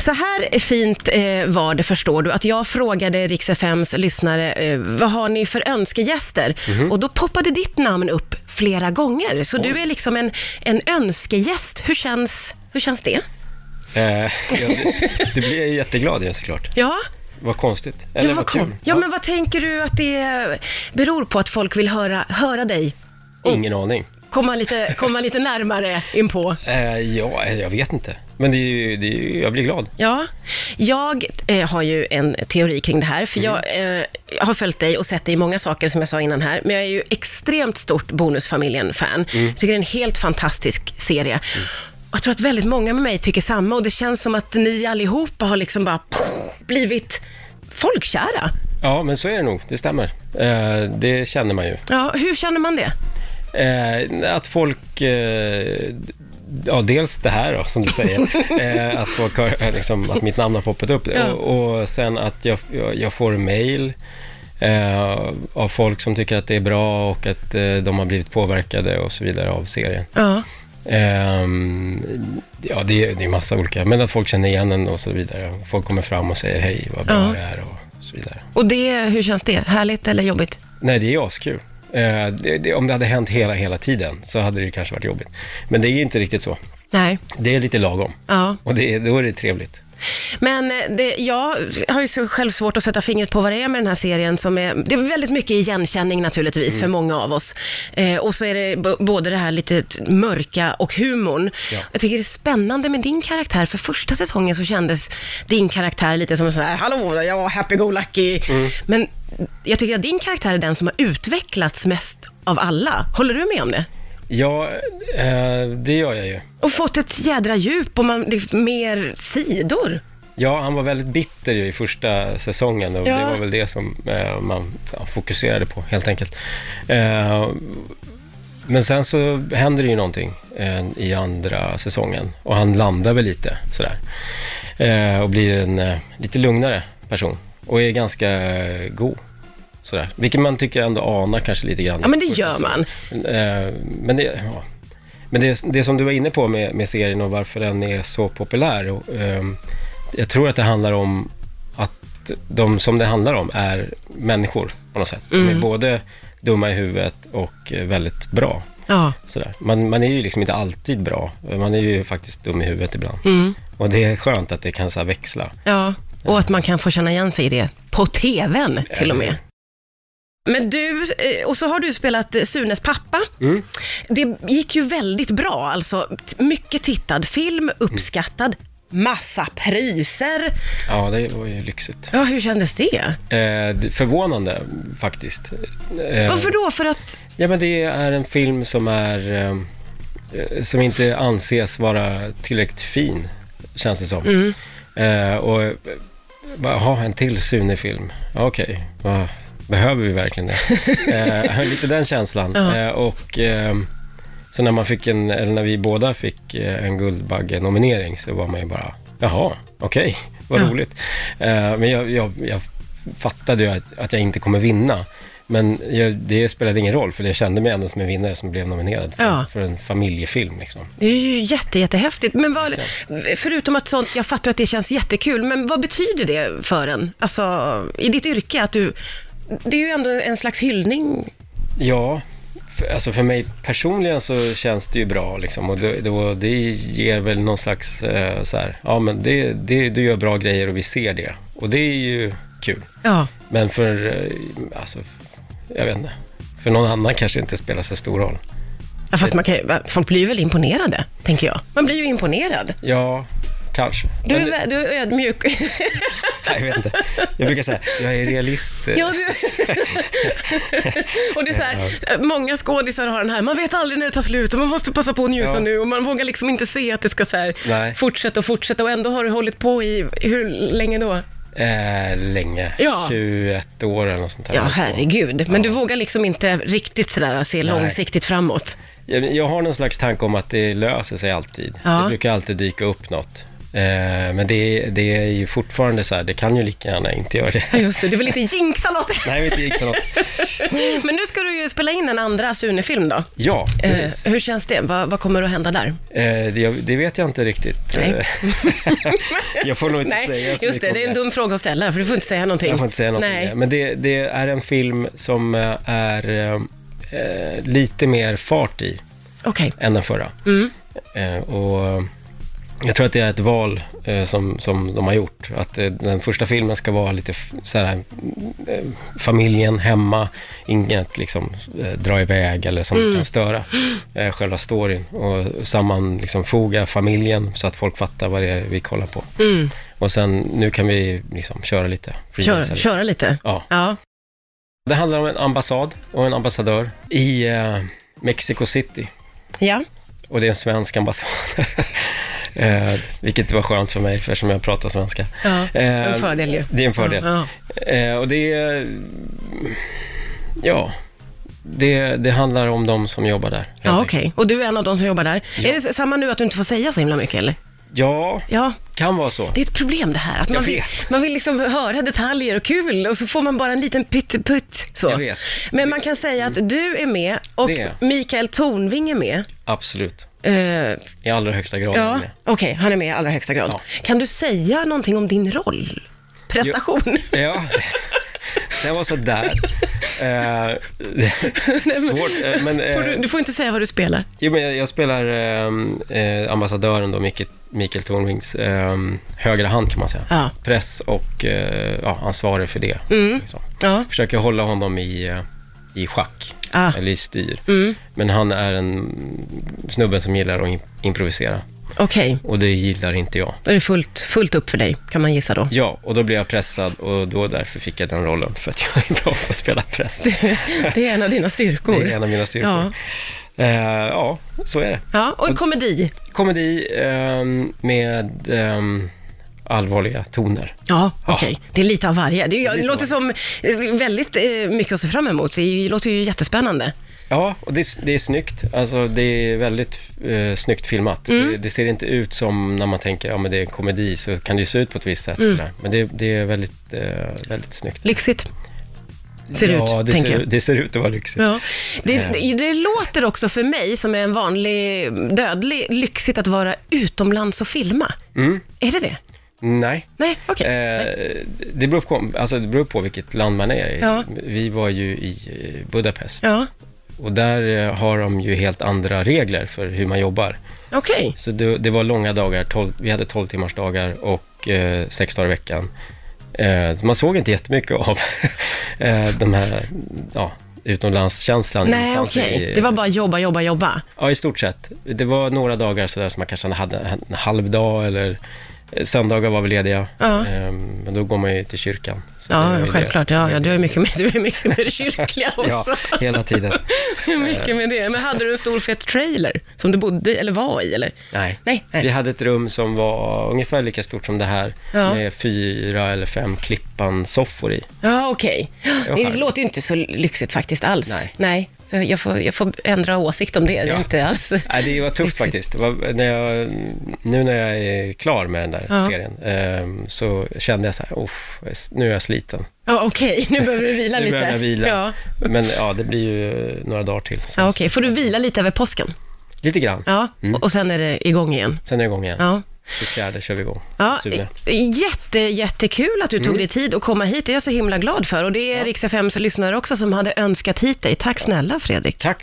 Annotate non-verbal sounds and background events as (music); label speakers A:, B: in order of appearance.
A: Så här fint eh, var det, förstår du, att jag frågade Rix FMs lyssnare, eh, vad har ni för önskegäster? Och då poppade ditt namn upp flera gånger, så du är liksom en, en önskegäst. Hur känns, hur känns det?
B: Eh, jag, det blir jag jätteglad i såklart.
A: Ja,
B: Vad konstigt.
A: ja,
B: Eller
A: vad
B: vad
A: kom-
B: kul.
A: ja, men vad tänker du att det beror på att folk vill höra, höra dig?
B: Ingen aning.
A: Komma lite, komma lite närmare inpå.
B: Eh, ja, eh, jag vet inte. Men det är ju, det är ju, jag blir glad.
A: Ja, jag eh, har ju en teori kring det här, för jag eh, har följt dig och sett dig i många saker, som jag sa innan här, men jag är ju extremt stort Bonusfamiljen-fan. Jag tycker det är en helt fantastisk serie. Jag tror att väldigt många med mig tycker samma och det känns som att ni allihopa har liksom bara pff, blivit folkkära.
B: Ja, men så är det nog. Det stämmer. Eh, det känner man ju.
A: Ja, hur känner man det?
B: Eh, att folk... Eh, d- ja, dels det här då, som
A: (laughs)
B: du säger. eh, att, folk har, eh, liksom, att mitt namn har poppat upp.
A: Ja.
B: Och, och sen att jag, jag, jag får mail eh, av folk som tycker att det är bra och att eh, de har blivit påverkade och så vidare av serien.
A: Ja.
B: Ehm, ja, det är, det är massa olika. Men att folk känner igen en och så vidare. Folk kommer fram och säger hej, vad bra
A: Ja.
B: det är och så vidare.
A: Och det, hur känns det? Härligt eller jobbigt?
B: Nej, det är askul. Eh, det, det, om det hade hänt hela, hela tiden så hade det ju kanske varit jobbigt. Men det är ju inte riktigt så.
A: Nej.
B: Det är lite lagom.
A: Ja.
B: Och det, är- då är det trevligt.
A: Men eh, det, jag har ju så själv svårt att sätta fingret på vad det är med den här serien. Som är, det är väldigt mycket igenkänning naturligtvis för många av oss. Eh, och så är det b- både det här lite t- mörka och humorn.
B: Ja.
A: Jag tycker det är spännande med din karaktär. För första säsongen så kändes din karaktär lite som en sån här, hallå, jag var happy-go-lucky. Men jag tycker att din karaktär är den som har utvecklats mest av alla. Håller du med om det?
B: Ja, eh, det gör jag ju.
A: Och fått ett jädra djup och man, det är mer sidor.
B: Ja, han var väldigt bitter ju i första säsongen och
A: Ja.
B: det var väl det som eh, man ja, fokuserade på helt enkelt. Eh, men sen så händer det ju någonting eh, i andra säsongen och han landar väl lite sådär eh, och blir en eh, lite lugnare person och är ganska eh, god. Sådär. Vilket man tycker ändå anar kanske lite grann.
A: Ja, men det
B: i första
A: gör man.
B: Eh, Men, det, ja. men det, det som du var inne på med, med serien och varför den är så populär. Och, ehm, jag tror att det handlar om att de som det handlar om är människor på något sätt.
A: Mm.
B: De är både dumma i huvudet och eh, väldigt bra.
A: Ja.
B: Sådär. Man, man är ju liksom inte alltid bra. Man är ju faktiskt dum i huvudet ibland.
A: Mm.
B: Och det är skönt att det kan så här växla.
A: Ja, och att man kan få känna igen sig i det på tvn till och med. Men du, eh, och så har du spelat eh, Sunes pappa.
B: Mm.
A: Det gick ju väldigt bra, alltså t- mycket tittad film, uppskattad, massa priser.
B: Ja, det var ju lyxigt.
A: Ja, hur kändes det?
B: Eh, det- förvånande faktiskt. Eh,
A: Varför då? För att,
B: Ja, men det är en film som är eh, eh, som inte anses vara tillräckligt fin, känns det som.
A: Mm.
B: Eh, och eh, bara, ha en till Sune-film. Ja, Okej, va, behöver vi
A: (laughs)
B: verkligen det? eh, lite den känslan.
A: Ja.
B: Eh, och eh, så när man fick en, eller när vi båda fick eh, en Guldbagge-nominering så var man ju bara, jaha, okej, vad
A: Ja.
B: roligt. Eh, men jag, jag, jag fattade ju att, att jag inte kommer vinna. Men jag, det spelade ingen roll, för jag kände mig ändå som en vinnare som blev nominerad för,
A: Ja.
B: för en familjefilm. Liksom.
A: det är ju jätte, jättehäftigt. Men vad, förutom att sånt, jag fattar att det känns jättekul, men vad betyder det för en? Alltså, i ditt yrke, att du, det är ju ändå en slags hyllning.
B: Ja, för, alltså för mig personligen så känns det ju bra liksom, och det, det, det ger väl någon slags eh, så här, ja men det, det, du gör bra grejer och vi ser det. Och det är ju kul.
A: Ja.
B: Men för, eh, alltså, jag vet inte. För någon annan kanske inte spelar så stor roll.
A: Ja, fast man kan, ju- va, folk blir väl imponerade, tänker jag. Man blir ju imponerad.
B: Ja, kanske.
A: Du,
B: Men
A: är
B: det,
A: vä- du är ödmjuk.
B: (laughs) nej, jag vet inte. Jag brukar säga, jag
A: (laughs)
B: är realist. eh,
A: ja, du... och det är så här, många skådisar har den här, man vet aldrig när det tar slut och man måste passa på att njuta
B: Ja.
A: nu och man vågar liksom inte se att det ska så här,
B: Nej.
A: fortsätta och fortsätta och ändå har du hållit på i, hur länge då?
B: Eh, länge.
A: Ja.
B: 21 år eller något sånt här.
A: Ja, herregud. Men du vågar liksom inte riktigt sådär se långsiktigt framåt.
B: Jag, jag har någon slags tanke om att det löser sig alltid.
A: Ja.
B: Det brukar alltid dyka upp något. Eh, men det, det är ju fortfarande så här, det kan ju lika gärna inte
A: (laughs)
B: göra det.
A: Ja, just det. Du vill inte jinxa något.
B: Nej, vi inte gick så långt.
A: (laughs) Men nu ska du ju spela in en andra Sune-film då.
B: Ja,
A: Eh,
B: precis.
A: hur känns det? Vad, vad kommer att hända där?
B: Eh, det, jag- det vet jag inte riktigt.
A: Nej.
B: Eh, (laughs) jag får nog inte
A: Nej,
B: säga så
A: just det.
B: mycket
A: Det är
B: om
A: en dum fråga att ställa, för du får inte säga någonting.
B: Jag får inte säga någonting.
A: Nej.
B: Men det, det är en film som eh, är eh, lite mer fart i
A: Okej. mm,
B: än den förra. Eh, och jag tror att det är ett val eh, som, som de har gjort. Att eh, den första filmen ska vara lite f- så här, eh, familjen hemma, inget liksom eh, dra iväg eller som
A: Mm.
B: kan störa eh, själva storyn. Och samman, liksom, foga familjen så att folk fattar vad det är vi kollar på. Och sen, nu kan vi liksom köra lite. freelancer.
A: mm. Kör, köra lite.
B: Ja.
A: Ja.
B: Det handlar om en ambassad och en ambassadör i eh, Mexico City.
A: Ja.
B: Och det är en svensk ambassad. (laughs) eh, vilket var skönt för mig, eftersom jag pratar svenska.
A: ja.
B: Eh,
A: En fördel ju.
B: Det är en fördel.
A: Ja.
B: Eh, och det är... Ja. Det, det handlar om de som jobbar där. helt
A: Ja,
B: enkelt.
A: okej. Och du är en av de som jobbar där.
B: Ja.
A: Är det s- samma nu att du inte får säga så himla mycket, eller?
B: Ja,
A: Ja,
B: kan vara så.
A: det är ett problem det här. Att man,
B: Jag
A: vill,
B: vet.
A: man vill liksom höra detaljer och kul och så får man bara en liten pytteputt. Så.
B: Jag vet. Mm.
A: Men man kan säga att du är med och
B: Det är jag.
A: Mikael Tornving är med.
B: Absolut.
A: Eh,
B: I allra högsta grad.
A: ja,
B: med.
A: okej, han är med i allra högsta grad.
B: Ja.
A: Kan du säga någonting om din roll? Prestation? (laughs)
B: Ja, (laughs) den var sådär.
A: (laughs)
B: Eh, svårt, eh, men... eh,
A: Får du, du får inte säga vad du spelar.
B: Jo, men jag, jag spelar ehm, eh, ambassadören då, Mikael, Mikael Tornvings ehm, högra hand kan man säga.
A: Ja. Mm.
B: Press och eh, ja, ansvarig för det. Liksom.
A: Ja,
B: Försöker hålla honom i, eh, i schack,
A: Ah.
B: eller i styr.
A: Mm.
B: Men han är en snubbe som gillar att im- improvisera
A: okej.
B: och det gillar inte jag.
A: Då är det fullt, fullt upp för dig, kan man gissa då.
B: Ja, och då blev jag pressad och då därför fick jag den rollen, för att jag är bra på att spela press.
A: (laughs) Det är en av dina styrkor.
B: Det är en av mina styrkor.
A: Ja.
B: Eh, ja, så är det.
A: Ja, och en komedi.
B: komedi ehm, med ehm, allvarliga toner.
A: Ja, okej. Det är lite av varje. Det, är, ju- det
B: lite
A: låter
B: av
A: som eh, väldigt eh, mycket att se fram emot. Det är ju- låter ju jättespännande.
B: Ja, och det, är- det är snyggt. Alltså, det är väldigt eh, snyggt filmat.
A: Mm.
B: Det, det ser inte ut som när man tänker ja, men det är en komedi, så kan det ju se ut på ett visst sätt.
A: Mm.
B: Sådär. Men det, det är väldigt, eh, väldigt snyggt.
A: Lyxigt. Ser det
B: ja,
A: ut,
B: det
A: tänker
B: ser,
A: jag.
B: det ser ut att vara lyxigt.
A: Ja. Det,
B: Eh.
A: det, det låter också för mig, som är en vanlig dödlig, lyxigt att vara utomlands och filma. Är det det?
B: Mm. Nej.
A: Nej, okej.
B: Eh, det, beror på, alltså det beror på vilket land man är i.
A: Ja.
B: Vi var ju i eh, Budapest
A: Ja,
B: och där eh, har de ju helt andra regler för hur man jobbar.
A: okej.
B: Så det, det var långa dagar, 12, vi hade 12 timmars dagar och eh, sex dagar i veckan. Eh, så man såg inte jättemycket av (laughs) eh, de här ja, utomlandskänslan.
A: Nej,
B: Fanns
A: okej.
B: i-
A: Det var bara jobba, jobba, jobba.
B: Ja, i stort sett. Det var några dagar sådär som man kanske hade en halv dag eller eh, söndagar var vi lediga.
A: Ja.
B: Eh, men då går man ju till kyrkan. Så det var ju
A: Ja,
B: det.
A: självklart. Ja, ja, du är mycket med, du är mycket med det
B: (laughs)
A: kyrkliga
B: Ja,
A: också. (laughs)
B: hela tiden.
A: Mycket med det. Men hade du en stor fet trailer som du bodde i, eller var i? Eller?
B: Nej.
A: Nej, nej.
B: Vi hade ett rum som var ungefär lika stort som det här
A: Ja.
B: med fyra eller fem klippan-soffor i.
A: Ja, okej.
B: var
A: Det
B: här.
A: låter ju inte så lyxigt faktiskt alls.
B: Nej.
A: Så jag, får, jag får ändra åsikt om det. Det är
B: Ja.
A: Inte alls.
B: Nej, det var tufft faktiskt. Det var, när jag, nu när jag är klar med den där
A: Ja.
B: serien ehm, så kände jag så här, "Uff, nu är jag sliten.
A: Ja, okej, nu behöver du vila
B: Nu
A: lite.
B: behöver jag vila.
A: Ja.
B: Men ja, det blir ju några dagar till. sen.
A: Ja, okej. Får du vila lite över påsken?
B: Lite grann.
A: Ja,
B: Mm.
A: och- och sen är det igång igen.
B: Sen är det igång igen.
A: Ja.
B: 24 kör vi igång.
A: Ja,
B: Sune.
A: jätte, jättekul att du tog dig tid att komma hit. Det är jag så himla glad för. Och det är Rix FMs lyssnare också som hade önskat hit dig. Tack snälla Fredrik.
B: Tack